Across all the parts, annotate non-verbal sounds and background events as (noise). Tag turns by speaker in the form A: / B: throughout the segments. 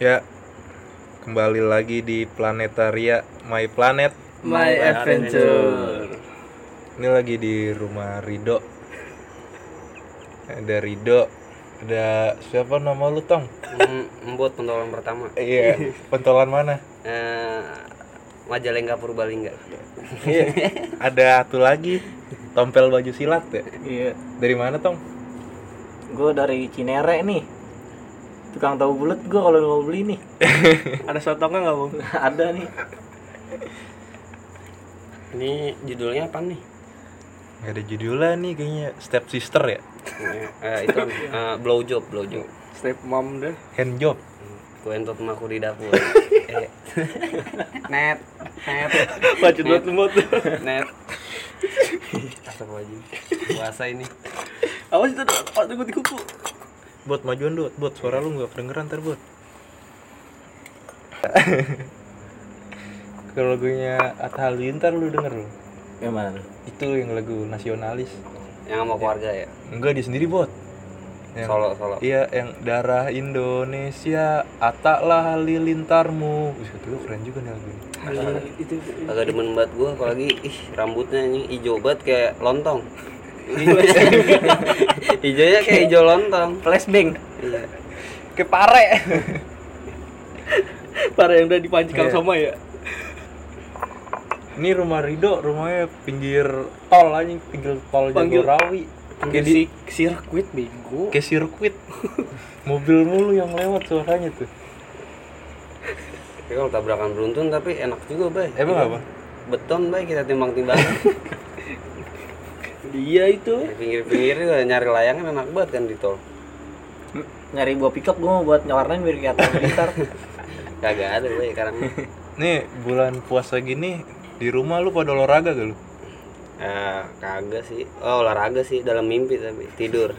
A: Ya, kembali lagi di Planetaria My Planet.
B: My Adventure.
A: Ini lagi di rumah Rido. Ada Rido, ada siapa nama lu Tong?
B: Mem- Membuat pentolan pertama.
A: Iya, pentolan mana?
B: Eh, Majalengka Purbalingga.
A: Ada satu lagi, tompel baju silat ya.
C: Iya,
A: Dari mana Tong?
C: gue dari Cinere nih. Tukang tahu bulat gue kalau mau
B: (laughs)
C: beli nih. Ada sotongnya nggak bang? (laughs) Ada nih.
B: Ini judulnya apa nih?
A: Gak ada judulnya nih kayaknya Step Sister ya,
B: Eh, eh, itu eh, blow job, blow job.
C: Step mom deh.
A: Hand Job.
B: Ku entot maku di dapur. Eh, net, net,
C: Pacet buat lemot.
B: net. Astagfirullahaladzim. Puasa ini.
C: Awas itu pak tunggu di kuku.
A: Buat majuan dot, buat suara lu nggak kedengeran ntar buat. Kalau lagunya Atta Halilintar lu denger lu.
C: Yang mana? lu?
A: Itu yang lagu nasionalis.
B: Yang sama keluarga ya.
A: Enggak dia sendiri bot. Yang-
B: Solo, solo.
A: Iya, yang darah Indonesia, Atta lah halilintarmu. Wih, itu keren juga nih lagu ini.
C: Itu
B: Agak demen banget gua apalagi ih rambutnya ini hijau banget kayak lontong. Hijaunya kayak (laughs) hijau lontong.
C: flashbang.
B: Iya.
C: Ke pare. (laughs) pare yang udah dipancing Kang
A: Iya.
C: Soma ya.
A: Ini rumah Rido, rumahnya pinggir tol anjing, pinggir tol
C: Panggil-
A: Jagorawi. Kayak di-
C: Jadi sirkuit bego.
A: kayak
C: (laughs)
A: sirkuit. Mobil mulu yang lewat suaranya tuh.
B: Tapi kalau tabrakan beruntun tapi enak juga, Bay.
A: Emang
C: Iya.
A: apa?
B: Beton, Bay, kita timbang-timbangan.
D: Iya
C: Dia itu
B: Di pinggir-pinggir juga nyari layangan enak banget kan di tol.
C: nyari buah pickup gue mau buat nyawarnain biar kelihatan
D: (laughs)
C: pintar.
B: Kagak ada, Bay, sekarang.
A: Nih, bulan puasa gini di rumah lu pada olahraga gak lu?
B: Eh, kagak sih. Oh, olahraga sih dalam mimpi tapi tidur.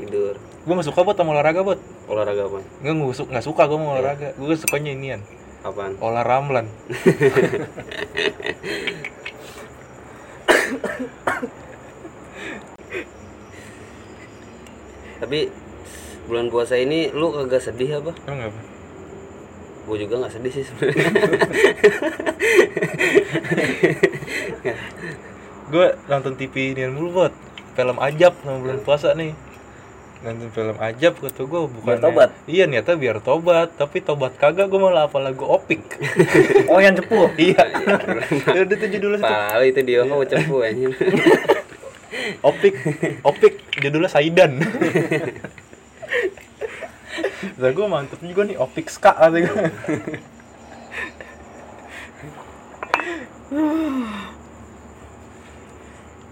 B: Tidur.
A: Gue gak suka buat sama olahraga buat
B: Olahraga apa?
A: Gue gak, suka, gak suka gue mau olahraga Gue sukanya inian
B: Apaan?
A: Olah ramlan
B: Tapi bulan puasa ini lu kagak sedih apa?
A: Emang apa?
B: Gue juga nggak sedih sih sebenarnya.
A: Gue nonton TV inian mulu buat Film ajab sama bulan puasa nih Nonton film ajab kata gue bukan
C: Biar tobat.
A: Iya niatnya biar tobat Tapi tobat kagak gue malah apa lagu opik
C: (laughs) oh yang cepu. (laughs)
A: Iya Udah tuh judulnya situ.
B: Pala itu dia mau cepu anjir.
A: Opik Opik judulnya (laughs) Saidan Nah gue mantep juga nih Opik Ska kata gua.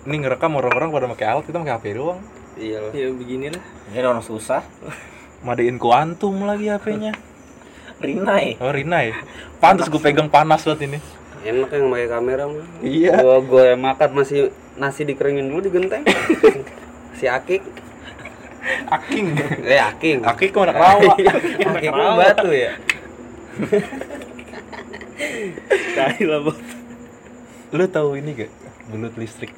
A: Ini ngerekam orang-orang pada pakai alat kita pakai HP doang
B: Iya lah.
C: Ya beginilah. Ini orang susah.
A: Madain kuantum lagi HP-nya
C: Rinai.
A: Oh Rina ya Pantes gue pegang panas banget ini
B: Enak yang pakai kamera mah.
A: Iya.
B: Gua gua yang makan masih nasi dikeringin dulu di genteng. si Akik.
A: Aking
B: Eh Aking.
A: Aking kok anak
B: (laughs)
A: rawa (laughs)
B: Akik mah batu ya.
C: Dai lah bot.
A: Lu tahu ini gak? Belut listrik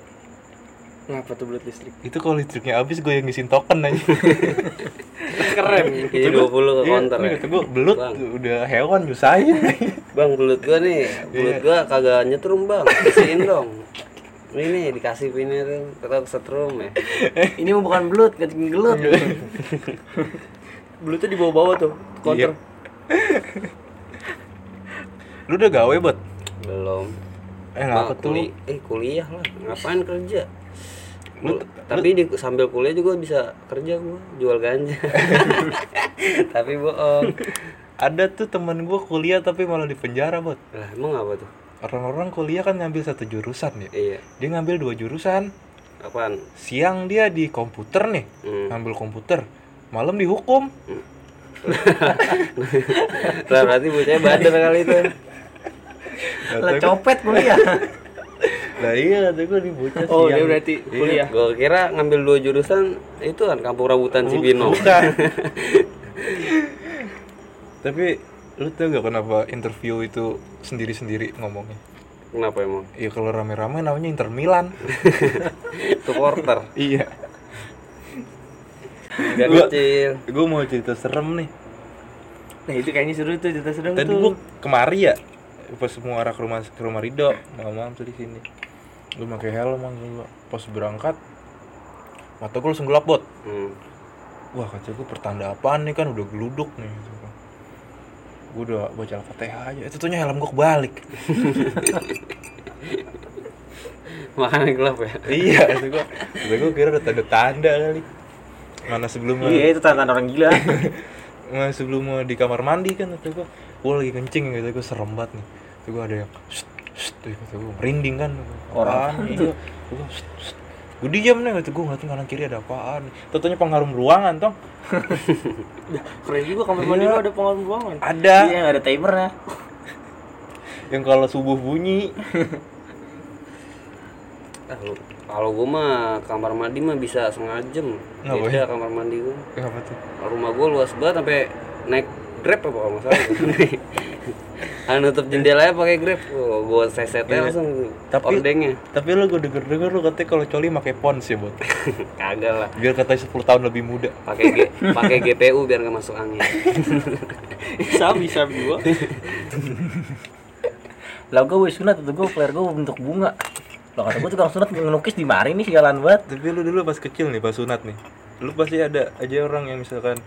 C: Ngapa tuh belut listrik?
A: Itu kalau listriknya habis gue yang ngisiin token aja
C: Keren.
B: Jadi 20 ke
A: Iya,
B: counter
A: ini
B: ya.
A: kata gua, belut
B: Bang.
A: udah hewan
B: (laughs)
A: nyusahin.
B: Bang belut gua nih, belut
A: Iya.
B: gua kagak nyetrum, Bang. Kasihin dong. Ini nih dikasih ini tuh, kata setrum ya.
C: Ini mah bukan belut, kencing gelut. Belutnya dibawa-bawa tuh,
A: Iya. Lu udah gawe buat?
B: Belum.
A: Eh
B: Bang,
A: ngapa tuh?
B: kuli- eh kuliah lah. Ngapain kerja?
A: Lu-
B: Gua- tapi di, sambil kuliah juga bisa kerja gua, jual
A: (laughs)
B: ganja. tapi bohong.
A: Ada tuh temen gua kuliah tapi malah di penjara buat.
B: Lah emang apa tuh?
A: Orang-orang kuliah kan ngambil satu jurusan ya.
B: Iya.
A: Dia ngambil dua jurusan.
B: Apaan?
A: Siang dia di komputer nih,
B: Hmm.
A: ngambil komputer. Malam dihukum.
B: Lah berarti bocahnya bader kali itu.
C: Lah copet kuliah.
A: Lah iya, kata gua di bocah
C: Oh,
A: siang.
C: dia berarti kuliah.
B: Iya. Gua kira ngambil dua jurusan itu kan kampung
C: Hmm.
B: rambutan Cibinong.
A: Bukan. (laughs) tapi lu tau gak kenapa interview itu sendiri-sendiri ngomongnya?
B: Kenapa emang?
A: Ya kalau rame-rame namanya Inter Milan.
B: Supporter.
A: (laughs) iya.
B: Gak
A: Gua-
B: kecil.
A: Gue mau cerita serem nih.
D: Nah itu kayaknya seru tuh cerita sedang
A: Tadi
D: tuh.
A: gua kemari ya pas semua arah ke rumah ke rumah Rido malam-malam tuh di sini. Gua pakai helm langsung gua. Pas berangkat mata gua langsung gelap bot.
B: Hmm.
A: Wah kata gua pertanda apaan nih kan udah geluduk nih. gitu kan. Gua udah baca Al-Fatihah aja. Itu tuhnya helm gua kebalik. (laughs)
B: Makanya gelap ya.
A: iya kata gua. Kata gua kira ada tanda-tanda kali. Mana sebelumnya
D: Iya itu tantangan orang gila.
A: Nah, sebelum mau di kamar mandi kan kata gua, gua lagi kencing gitu gua serem banget nih. Kata gua ada yang "Shh, shh," tuh kata gua merinding kan.
D: Orang
A: Apaan nih? Gua, gua, "Shh, shh." Gua diam nih kata gua ngeliatin kanan kiri ada apaan. Tentunya pengharum ruangan
D: (laughs)
A: tong.
D: (laughs) Keren juga kamar
A: Iya.
D: mandi lu ada pengaruh ruangan.
A: Ada.
D: Iya nggak ada timernya.
A: Yang kalau subuh bunyi.
D: (laughs)
B: Ah, lu- Kalau gua mah kamar mandi mah bisa setengah jam.
A: Nggak
B: Beda
C: ya?
B: kamar mandi gua.
A: Eh, apa tuh?
B: Kalau Rumah gua luas banget sampai naik grab apa kalau
C: (laughs)
B: nggak salah. Anu nutup jendelanya pakai grab. Oh, gua sesetnya
C: Iya.
B: langsung
A: Tapi-
B: ordengnya. (laughs)
A: Tapi lu gua denger-denger lu katanya kalau coli pakai pons ya, Bot.
B: Kagak lah.
A: Biar katanya 10 tahun lebih muda.
B: Pakai G- pakai GPU biar nggak masuk
C: (laughs)
B: angin.
D: sabi sabi gua. (laughs) Lah gua wis sunat tuh gua flare gua bentuk bunga. Lah kata gua tukang sunat ngelukis di mari nih sialan banget.
A: Tapi lu dulu pas kecil nih, pas sunat nih. Lu pasti ada aja orang yang misalkan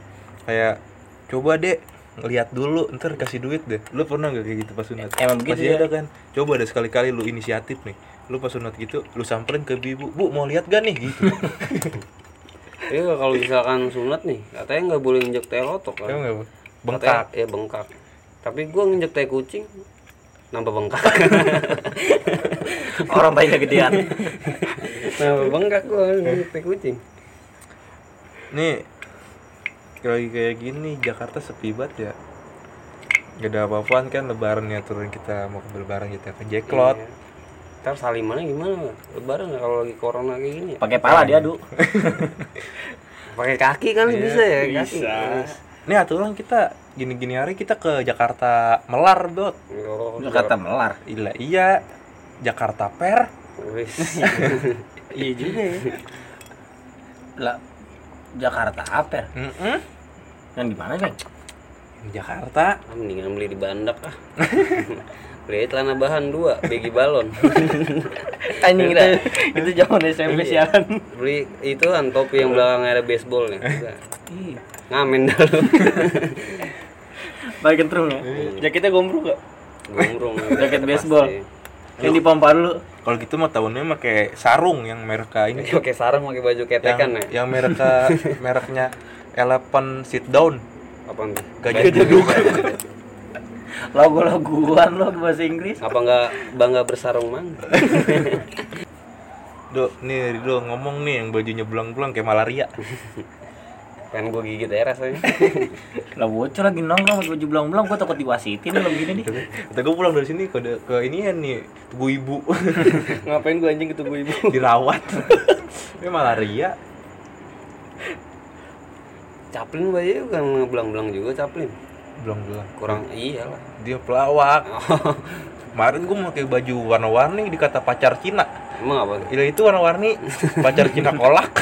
A: kayak coba deh ngeliat dulu ntar kasih duit deh lu pernah gak kayak gitu pas sunat
D: Emang begitu
A: pasti
D: ya.
A: ada kan coba deh sekali-kali lu inisiatif nih lu pas sunat gitu lu samperin ke bibu bu mau lihat gak nih gitu
B: Iya kalau misalkan sunat nih, katanya nggak boleh injek teh lotok kan.
A: emang gak Bu?
B: Katanya-
A: bengkak
B: ya bengkak. Tapi gua nginjek tai kucing nambah bengkak.
D: Orang bayinya gedean.
B: (laughs) nambah bengkak gua nginjek tai kucing.
A: nih kalau lagi kayak gini Jakarta sepi banget ya gak ada apa-apaan kan lebaran ya turun kita mau ke lebaran kita ke Jacklot
B: Iya. Ntar salimannya gimana? Lebaran nggak kalau lagi corona kayak gini ya?
D: Pakai pala diadu.
B: Pakai kaki kali bisa ya? Kaki.
A: nih aturan kita gini-gini hari kita ke Jakarta melar bot
B: Yo,
D: Lu kata melar.
A: Ila iya Jakarta Per
B: wis.
D: Iya juga ya. Lah Jakarta apa? ya?
A: Mm-mm.
D: Yang di mana, Bang?
A: Jakarta
B: Ah, mendingan beli di Bandak (laughs) ah. beli aja celana bahan dua, begi (laughs) balon.
D: Anjing (laughs) Itu zaman SMP sialan.
B: beli itu kan topi yang belakangnya ada baseballnya. Udah.
D: Iya.
B: Ngamen dah lu.
D: Balik kentrung ya.
A: Iya.
D: Jaketnya gombrong gak?
B: Gombrong.
D: Jaket baseball.
B: pasti.
D: Yang di pompa dulu.
A: kalau gitu mah tahunnya pakai sarung yang mereka ini
B: (laughs) Pakai sarung pakai baju
A: yang
B: ketekan ya.
A: yang mereka mereknya Elephant Sit Down
B: Apaan tuh?
A: gajah duduk
D: Logo-logoan lo bahasa (laughs) Inggris.
B: Apa nggak bangga bersarung mang?
A: Do, nih Rido ngomong nih yang bajunya belang-belang kayak malaria.
B: Pengen gue gigit ya rasanya. (laughs)
D: Lah bocor lagi nongkrong pakai baju belang-belang gua takut diwasitin lo begini nih.
A: Kata gue pulang dari sini ke ke ini ya nih, tugu ibu (laughs)
D: Ngapain gua anjing ketemu
B: (laughs)
D: ibu?
A: dirawat. Ini malaria.
B: Caplin bayi kan belang-belang juga Caplin.
A: Belang-belang.
B: Kurang iya iyalah.
A: Dia pelawak. Kemarin gue pakai baju warna-warni dikata pacar Cina.
B: (laughs) Emang apa?
A: Ila itu warna-warni pacar Cina kolak. (laughs)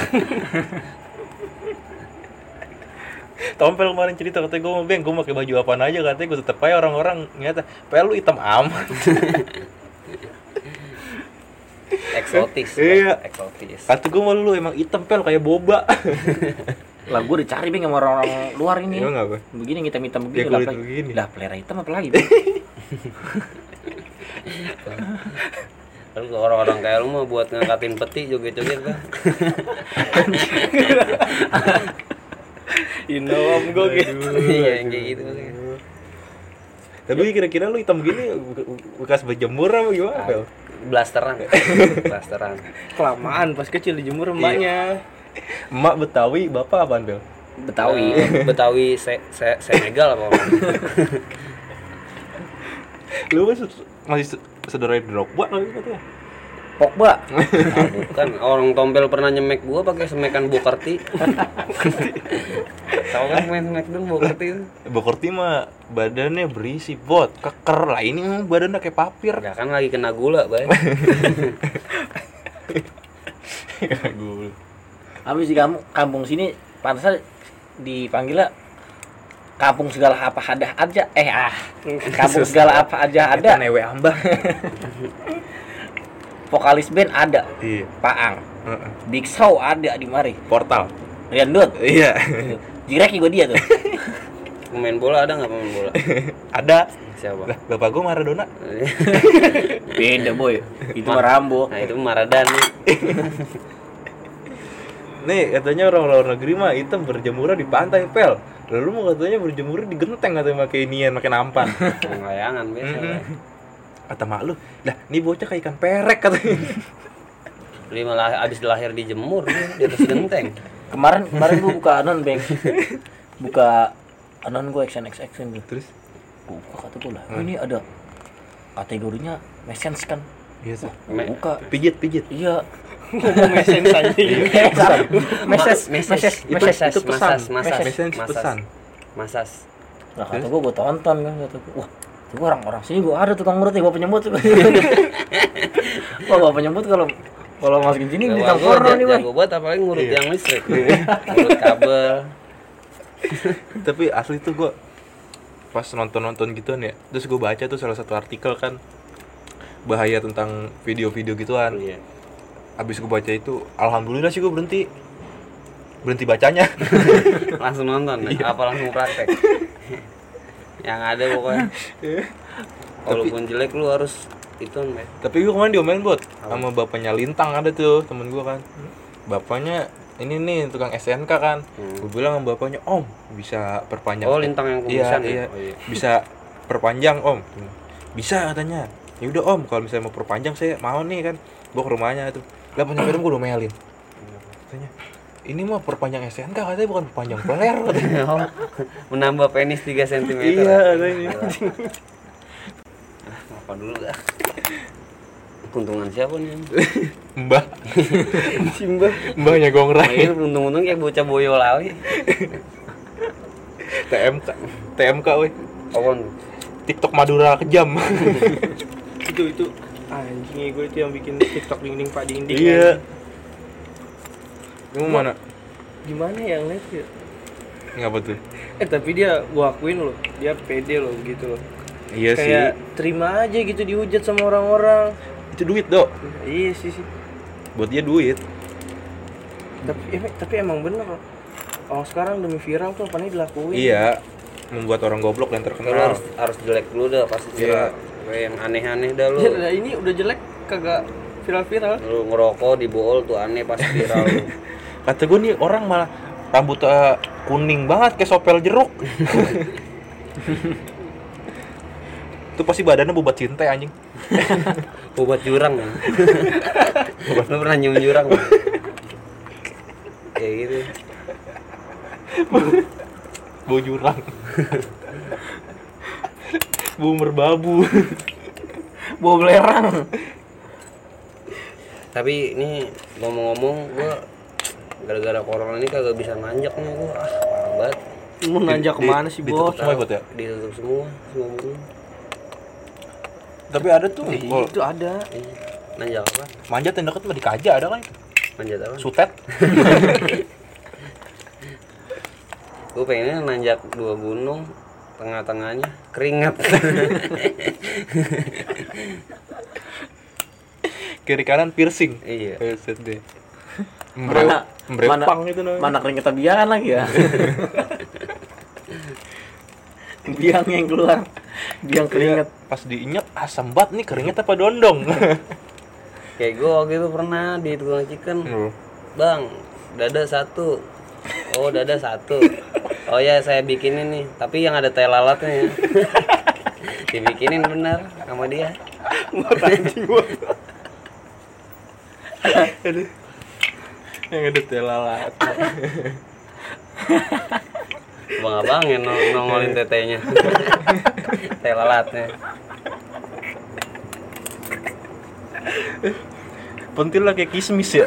A: Tompel kemarin cerita katanya gue mau beng, gue pakai baju apaan aja katanya gue tetep aja orang-orang nyata, pel lu hitam amat. (laughs)
B: Eksotis.
A: Iya.
B: Eksotis.
A: Kata gue malu lu emang hitam pel kayak boba. (laughs)
D: Lah gua dicari Bang sama orang-orang luar ini.
A: Emang apa?
D: Begini yang
A: Ya,
D: hitam-hitam begini
A: kulit
D: apalagi-
A: begini.
D: Lah pelera hitam apa lagi?
B: Lalu Kan orang-orang kayak lu mah buat ngangkatin peti joget-joget (laughs) kan.
D: You know I'm
B: Iya, yang kayak gitu. (laughs)
A: Tapi kira-kira lu hitam gini bekas berjemur apa gimana? Bel?
B: Blasteran. Blasteran.
D: (laughs) Kelamaan pas kecil dijemur emaknya.
A: Iya. Emak Betawi, bapak apaan Bel?
B: Betawi, Betawi se se Senegal apa orang?
A: Lu kan se- masih se- saudara Drogba lagi katanya.
D: Pogba.
B: Ah, bukan orang tompel pernah nyemek gua pakai semekan Bokerti. Tahu kan main Smackdown Bokerti itu?
A: Bokorti mah badannya berisi bot, keker lah ini mah badannya kayak papir. (laughs)
B: Ya kan lagi kena gula, Bay.
A: Gue Iya,
D: Habis di kampung, kampung sini pantasnya dipanggilnya kampung segala apa ada aja eh ah (laughs) kampung segala apa aja
A: Ada
D: ada
A: newe ambang.
D: vokalis band ada
A: Iya.
D: Paang
A: Heeh.
D: Big Show ada di mari
A: Portal.
D: Rian Dut
A: Iya. (laughs)
D: gitu. jirek juga dia tuh
B: Pemain bola ada nggak pemain bola?
A: Ada.
B: Siapa?
A: Lah, bapak gua Maradona.
D: (laughs) beda boy itu mah Rambo
B: Nah itu Maradona.
A: Nih katanya orang luar negeri mah hitam berjemur di pantai pel. Lalu mau katanya berjemur di genteng katanya pakai inian, pakai nampan.
B: Yang layangan biasa. lah.
A: (laughs) Mm-hmm. Kata mak lu, lah ini bocah kayak ikan perek (laughs) katanya.
B: Beli malah abis lahir dijemur dia di atas genteng.
D: kemarin kemarin (laughs) gua buka anon bang buka anon gua action action action nih
A: Terus
D: gua buka kata gua lah "Oh, ini ada kategorinya mesens kan
A: biasa.
D: Gua
B: Me-
D: buka
A: iya, Pijit, pijit.
D: iya (laughs)
C: mesin anjing
D: meses
B: Ma-
D: meses
A: Itu,
D: meses
A: itu pesan.
B: Masas, masas,
A: Message
B: masas.
A: pesan.
B: Masas.
D: Nah, kata gue, gue tonton kan, kata gue, wah, itu orang-orang sini gue ada tukang urut ya, bapak
B: (laughs)
D: nyebut. wah, bapak nyebut kalau kalau masukin sini
B: Gak
D: di
B: wah, gua
D: tangkorno
B: ja-
D: nih, bang.
B: jago banget apalagi ngurut
A: Iya.
B: yang
A: (laughs)
B: listrik. ngurut kabel.
A: Tapi asli tuh gua pas nonton-nonton gituan ya. Terus gua baca tuh salah satu artikel kan bahaya tentang video-video gituan.
B: Iya.
A: Abis gua baca itu, alhamdulillah sih gua berhenti berhenti bacanya. (laughs)
B: Langsung nonton
A: Iya.
B: apa langsung praktek? yang ada pokoknya.
A: Iya.
B: Walaupun jelek lu harus itu Mbak.
A: Tapi gue kemarin diomelin buat sama bapaknya Lintang ada tuh temen gue kan. Bapaknya ini nih tukang SNK kan. Gue bilang sama bapaknya, "Om, bisa perpanjang."
B: Hmm. Oh, Lintang yang kumisan ya?
A: iya,
B: Oh, iya.
A: Bisa perpanjang, Om. Bisa katanya. Ya udah Om, kalau misalnya mau perpanjang saya mau nih kan. Gue ke rumahnya tuh. Lah punya film gue diomelin.
B: Iya.
A: Katanya, "Ini mah perpanjang SNK katanya bukan perpanjang
B: (laughs)
A: player." katanya.
B: Oh, menambah penis 3 cm.
A: iya, katanya.
B: Apa dulu dah. Keuntungan siapa nih?
A: Mbah. Mbah. Mbahnya gongrai.
B: Ini untung-untung kayak bocah boyolali.
A: TMK. TMK weh.
B: Kawan.
A: TikTok Madura kejam.
C: itu itu anjing gue itu yang bikin tiktok dinding pak dinding
A: Iya. Kamu mana?
C: gimana ya ngeliat ya
A: Ngapa tuh?
C: eh tapi dia gua akuin loh dia pede loh gitu loh
A: Iya
C: kayak terima aja gitu dihujat sama orang-orang
A: Itu duit, Dok.
C: iya sih sih
A: Buat dia duit.
C: tapi em- tapi emang bener loh orang sekarang demi viral tuh apa nih dilakuin
A: Iya. Membuat orang goblok dan
B: Lu harus
A: terkenal.
B: harus jelek dulu dah pasti
A: Nah. Iya.
B: jelek. Kayak yang aneh-aneh dah
A: (laughs)
B: lu.
C: Ya, nah, ini udah jelek kagak viral-viral
B: Lu ngerokok di bool tuh aneh pasti viral lu.
A: Kata gue nih orang malah rambut eh, kuning banget kayak sopel jeruk. itu pasti badannya bobat cinta anjing.
B: Obat jurang. ya. lu pernah nyium jurang? nggak? Kayak gitu.
A: Bau jurang. Bau (laughs) merbabu.
D: Bawa belerang.
B: Tapi ini ngomong-ngomong gua gara-gara corona ini kagak bisa nanjak nih gua. Ah, parah banget.
C: mau nanjak kemana sih
A: Ditutup
C: bos
A: semua ya, Bot, ya.
B: Ditutup semua, semua mungkin.
A: Tapi ada tuh kalau
C: itu ada
B: Iya. Nanjak apa?
A: manjat yang deket mah dikaja ada kan?
B: Manjat apa?
A: Sutet.
B: gue pengennya nanjak dua gunung tengah-tengahnya keringat
A: (laughs) Kiri kanan piercing.
B: iya
A: Eh, set deh.
D: Mana, mana,
A: Mbrepang itu namanya.
D: mana keringetan biangan lagi ya. biang yang keluar, biang keringet.
A: Pas diinjek asam banget nih keringet apa dondong.
B: kayak gue waktu itu pernah di tukang chicken
A: Iya.
B: bang dada satu oh dada satu oh ya saya bikinin nih tapi yang ada tai (laughs) lalatnya ya dibikinin bener sama dia
A: (laughs) Yang ya, ada telalat.
B: abang-abang yang nong- nongolin (laughs) tetenya tai lalatnya
A: Pentil lah kayak kismis ya.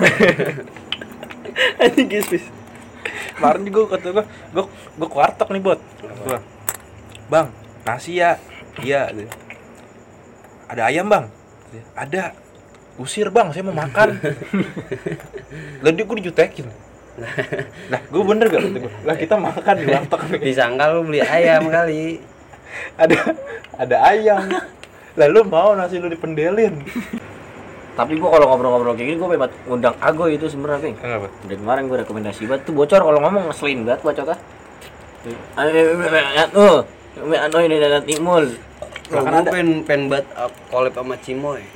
A: (laughs) Anjing kismis. Kemarin juga kata gua, gua gua kuartok nih bot. Gua. Bang, nasi ya. Iya. gitu. Ada ayam, Bang? Gitu. (laughs) Ada. Usir, Bang, saya mau makan. Lalu dia gua dijutekin. Nah, gue bener gak? Kata gua. Lah kita makan di warteg nih.
B: Disangka lu beli ayam kali.
A: Ada ada ayam. Lah lu mau nasi lu dipendelin.
D: Tapi gua kalau ngobrol-ngobrol kayak gini gua pengen banget ngundang Ago itu sebenarnya, Ping.
A: Kenapa?
D: Udah kemarin gua rekomendasi banget tuh bocor kalau ngomong ngeselin banget bocor ah. Oh, anu ini dan timul.
B: Lah kan ada pengen pengen banget uh, collab sama Cimoy.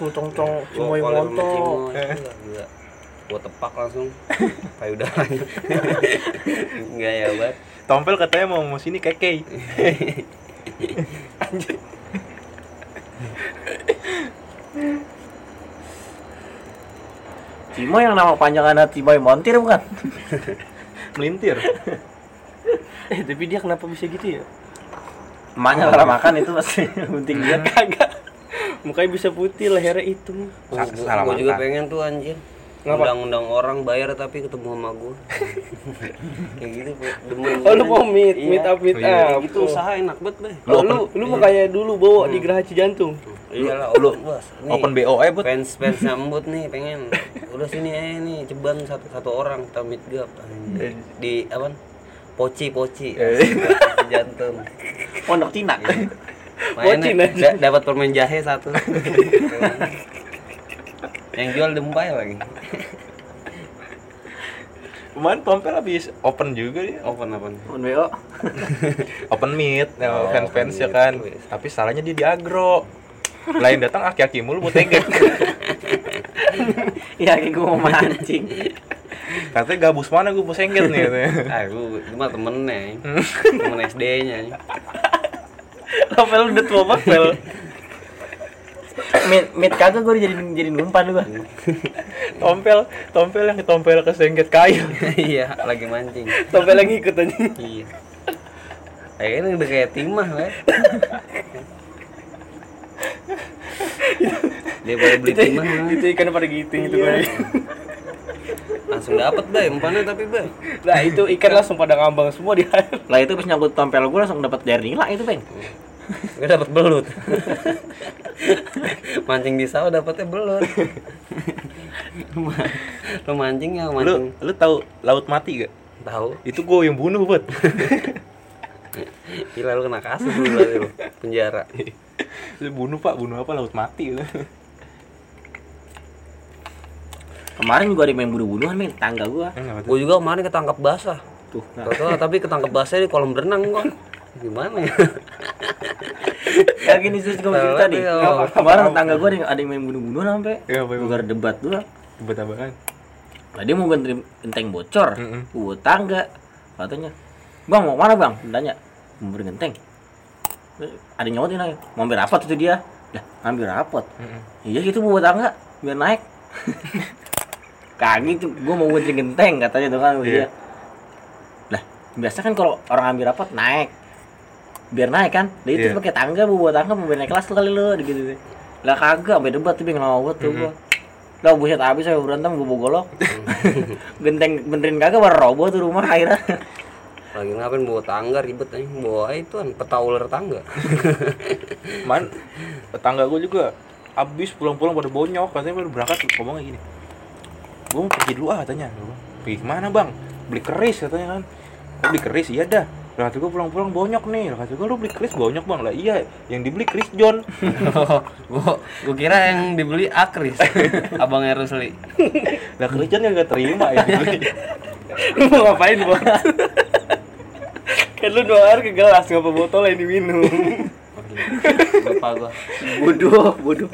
C: Sultong-tong
B: Gua
C: semua yang
B: collab sama ya.
C: montok.
B: Cimoy. Eh. Gila, gila. Gua tepak langsung. (laughs) Payudaranya. Enggak ya, Bat.
A: Tompel katanya mau mau sini keke.
D: Cimoy yang nama panjangan hati Boy Montir bukan?
A: Melintir.
C: (laughs) Eh, tapi dia kenapa bisa gitu ya?
D: Emaknya kalau makan itu pasti (laughs) penting dia.
C: Kagak. Mukanya bisa putih, lehernya hitam.
B: Gua,
A: Sa-
B: gua-
A: salah
B: gua juga
A: makan.
B: pengen tuh anjir. Undang-undang orang bayar tapi ketemu sama
C: (laughs)
B: gua. Kayak gitu, Bu. demen.
C: Oh, lu mau meet, meet up, meet
A: Iya.
B: Kayak
C: up.
B: gitu usaha enak banget, Bay.
C: Lu, Hmm. lu, lu mau kayak dulu bawa di Geraha Cijantung.
B: Iyalah, open, Bos. Nih,
A: Open BO eh, Bud.
B: fans
C: (laughs)
B: fans sambut nih pengen udah sini aja nih ceban satu satu orang kita meet up
C: Eh.
B: anjir. di apa poci poci jantung
D: Pondok Cina.
B: Mainnya
C: Poci,
B: da- dapat permen jahe
C: (laughs)
B: satu yang jual dempai lagi
A: Kemarin Tompel habis open juga dia.
B: open open
D: Pun BO.
A: Open meet,
B: Oh,
A: fans fans ya
B: open meet.
A: kan. Tapi salahnya dia di agro. Lain datang aki-aki mulu butega.
C: (laughs)
D: Iya, kayak gua mau mancing.
A: Katanya gabus mana gue mau sengket nih
C: (laughs)
A: katanya.
B: (laughs) ah gua cuma temennya temen SD nya
C: Apel udah tua banget, Pel.
D: Mit, mit kagak gua dijadiin jadi umpan gua.
A: Tompel, tompel yang tompel ke sengket kayu.
B: (laughs) iya lagi mancing
C: Sampai lagi ikut aja.
B: iya Kayaknya udah kayak timah lah. Dia boleh beli timah lah.
C: Itu ikan pada giting itu gue.
B: langsung dapat bay umpannya tapi bay.
C: Nah, itu ikan langsung pada ngambang semua di air.
D: Lah itu pas nyangkut tompel gua langsung dapat dari nila itu, Peng.
B: Gue dapat belut. (laughs) mancing di sawah dapatnya belut. Lu ma- Lu mancing ya
A: Lu
B: mancing.
A: lu tahu laut mati gak?
B: Tahu.
A: Itu gue yang bunuh, Bud.
B: Gila lu kena kasus dulu lah lu penjara.
A: Lu bunuh, Pak. Bunuh apa? Laut mati. gitu.
D: Kemarin gua ada main bunuh-bunuhan, men, tangga gua.
A: Enggak, Bud.
B: Gue juga kemarin ketangkap basah.
D: Tuh,
B: Gak tau lah, tapi ketangkap basah di kolam renang kok. Gimana ya?
D: Kayak Ya, gini sih gua mau cerita nih.
B: Tahu, tahu.
D: Kemarin tangga gua ada yang, ada yang main bunuh-bunuhan sampai
A: Iya, apa,
D: bugar debat gua.
A: Buat apaan?
D: Tadi mau ganti genteng bocor,
A: Mm-mm.
D: gua tangga katanya. Bang mau mana bang? Tanya, mau beli genteng. Eh, Ada nyawatin aja, mau ambil rapot itu dia. Dah, ambil rapot.
A: Mm-mm.
D: Iya gitu bawa tangga, biar
A: (laughs)
D: naik. Kaki tuh, gua mau ganti genteng katanya tuh kan sama
A: Iya.
D: dia. Lah, biasa kan kalau orang ambil rapot naik, biar naik kan. Dia itu
A: Iya.
D: pakai tangga, bawa tangga mau naik kelas kali lu, gitu Lah kagak, sampai debat tuh bingung sama gua tuh
C: Mhm.
D: gua. Lah buset abis saya berantem gua bawa golok.
C: Mhm.
D: (laughs) Genteng benerin kagak baru roboh tuh rumah akhirnya.
B: Lagi ngapain bawa tangga ribet aja. Bawa itu kan peta ular tangga.
A: Man, tetangga gue juga abis pulang-pulang pada bonyok katanya baru berangkat ngomongnya gini gue mau pergi dulu ah katanya Gua bilang, pergi kemana bang beli keris katanya kan "Oh, beli keris iya dah lah kata gue pulang-pulang bonyok nih lah kata gue lu beli keris bonyok bang lah iya yang dibeli keris John
B: Oh, gua, gua kira yang dibeli Akris. Abangnya Rusli.
A: lah keris John gak terima ya dibeli
C: Lu (laughs) mau ngapain, Bos? kan lu doang air ke gelas, nggak apa botol yang diminum.
B: Lupa gua.
D: (laughs) Bodoh, bodoh.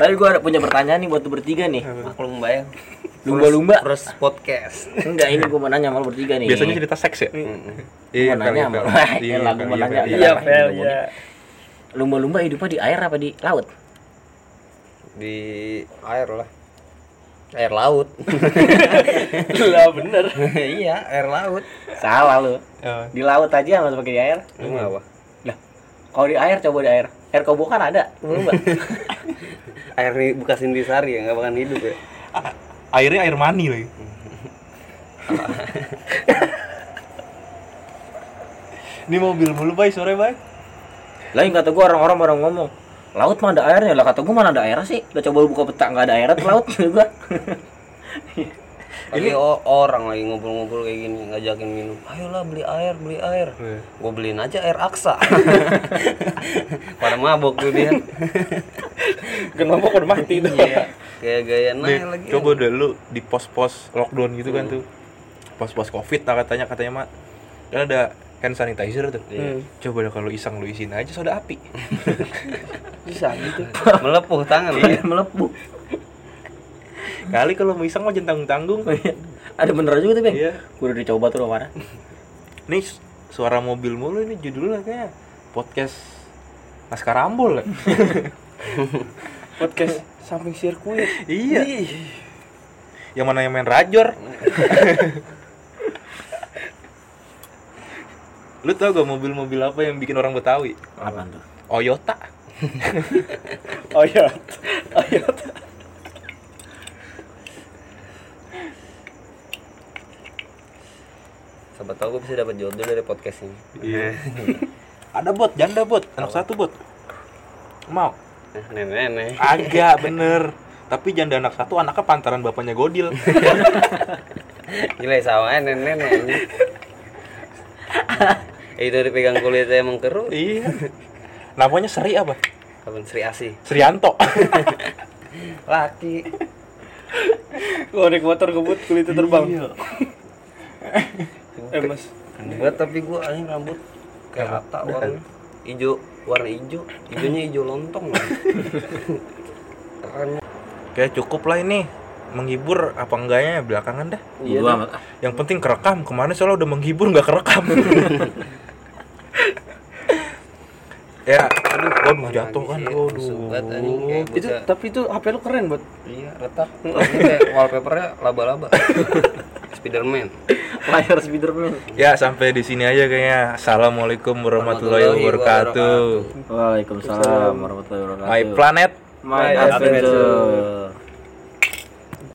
D: Tapi gua ada punya pertanyaan nih buat lu bertiga nih.
B: Maklum bayang.
D: Lumba-lumba.
B: Terus podcast.
D: Enggak, ini gua mau nanya sama lu bertiga nih.
A: biasanya cerita seks ya
D: Iya, Gua
B: ya,
D: nanya sama-
A: Pel.
D: Iya, lah, gua
A: Pel,
D: mau
A: iya,
D: nanya.
A: Pel, iya.
D: Iya,
C: Iya, Pel, ya.
D: lumba-lumba hidupnya di air apa di laut?
B: Di air lah. Air laut.
C: Lah, bener.
B: (laughs) iya, air laut.
D: Salah lu.
A: Eh,
D: Di laut aja nggak usah pakai di air.
B: Lu
A: Iya.
B: apa?
D: Lah, kalau di air coba di air. Air kobo kan ada, lumba.
B: Air nih buka sindisari ya, nggak bakal hidup
A: Iya.
B: ya.
A: airnya air mani lagi ini mobil mulu bay sore bay
D: (laughs) Lah yang kata gua orang-orang orang ngomong, laut mah ada gitu airnya. Lah kata gua mana ada airnya sih? Lah coba lu buka peta nggak ada airnya tuh laut gua.
B: Lagi o- orang lagi ngumpul-ngumpul kayak gini ngajakin minum. Ayolah beli air, beli air.
A: Iya.
B: Gue beliin aja air
A: (laughs)
B: aksa. Pada mabok tuh dia.
C: Kenapa udah mati
A: Iya.
C: tuh?
B: Gaya-gaya
A: Nih,
B: naik lagi.
A: coba deh lu di pos-pos lockdown gitu kan
C: Hmm.
A: tuh pos-pos covid lah katanya katanya mak kan ada hand sanitizer tuh
C: Iya.
B: Hmm.
A: coba deh kalau iseng lu isiin aja soda
C: (laughs)
A: api
D: (laughs) bisa gitu
B: Melepuh tangan
A: Iya.
B: ya.
D: melepuh
A: kali kalau mau iseng mah jentang tanggung
D: (laughs) ada bener juga tuh bang
A: Iya.
D: gue udah dicoba tuh kemarin
A: nih su- suara mobil mulu ini judulnya kayak podcast Maskarambol ya?
C: (laughs) Podcast samping sirkuit.
A: iya yang mana yang main (laughs) rajor lu tau gak mobil-mobil apa yang bikin orang Betawi
D: apa tuh
A: Oyota
C: Oh iya.
B: Siapa tahu gue bisa dapat jodoh dari podcast ini.
A: Iya. Ada bot, janda bot, anak satu bot. Mau?
B: Eh, Nenek-nenek.
A: Agak bener. Tapi janda anak satu anaknya pantaran bapaknya (laughs) Godil.
B: Gila ya, sama aja nenek-nenek.
A: (laughs)
B: anjing. Itu dipegang kulitnya emang keruh.
A: iya. Namanya Seri apa?
B: Kapan Sri Asih?
A: Srianto.
B: Laki.
C: Gue naik motor ngebut kulitnya terbang.
D: Iya.
C: eh mas,
B: Enggak, tapi gua anjing rambut kayak rata warna hijau, warna hijau. Hijaunya hijau lontong. lah. Keren.
A: Kayak cukup lah ini menghibur apa enggaknya belakangan dah.
D: iya gua amat
A: Yang penting kerekam. Kemarin soalnya udah menghibur nggak kerekam. ya, aduh, gua mau jatuh kan.
B: Busuk banget anjing,
A: Aduh.
B: kayak
C: itu
B: buta.
C: tapi itu HP lu keren buat.
B: Iya, retak. Tapi kayak wallpapernya laba-laba. (laughs) Spiderman.
D: layar Spiderman
A: Ya, sampai di sini aja kayaknya. Assalamualaikum warahmatullahi
B: Warahmatullahi
A: wabarakatuh.
D: Waalaikumsalam warahmatullahi wabarakatuh
A: My planet.
D: My
B: adventure.
D: adventure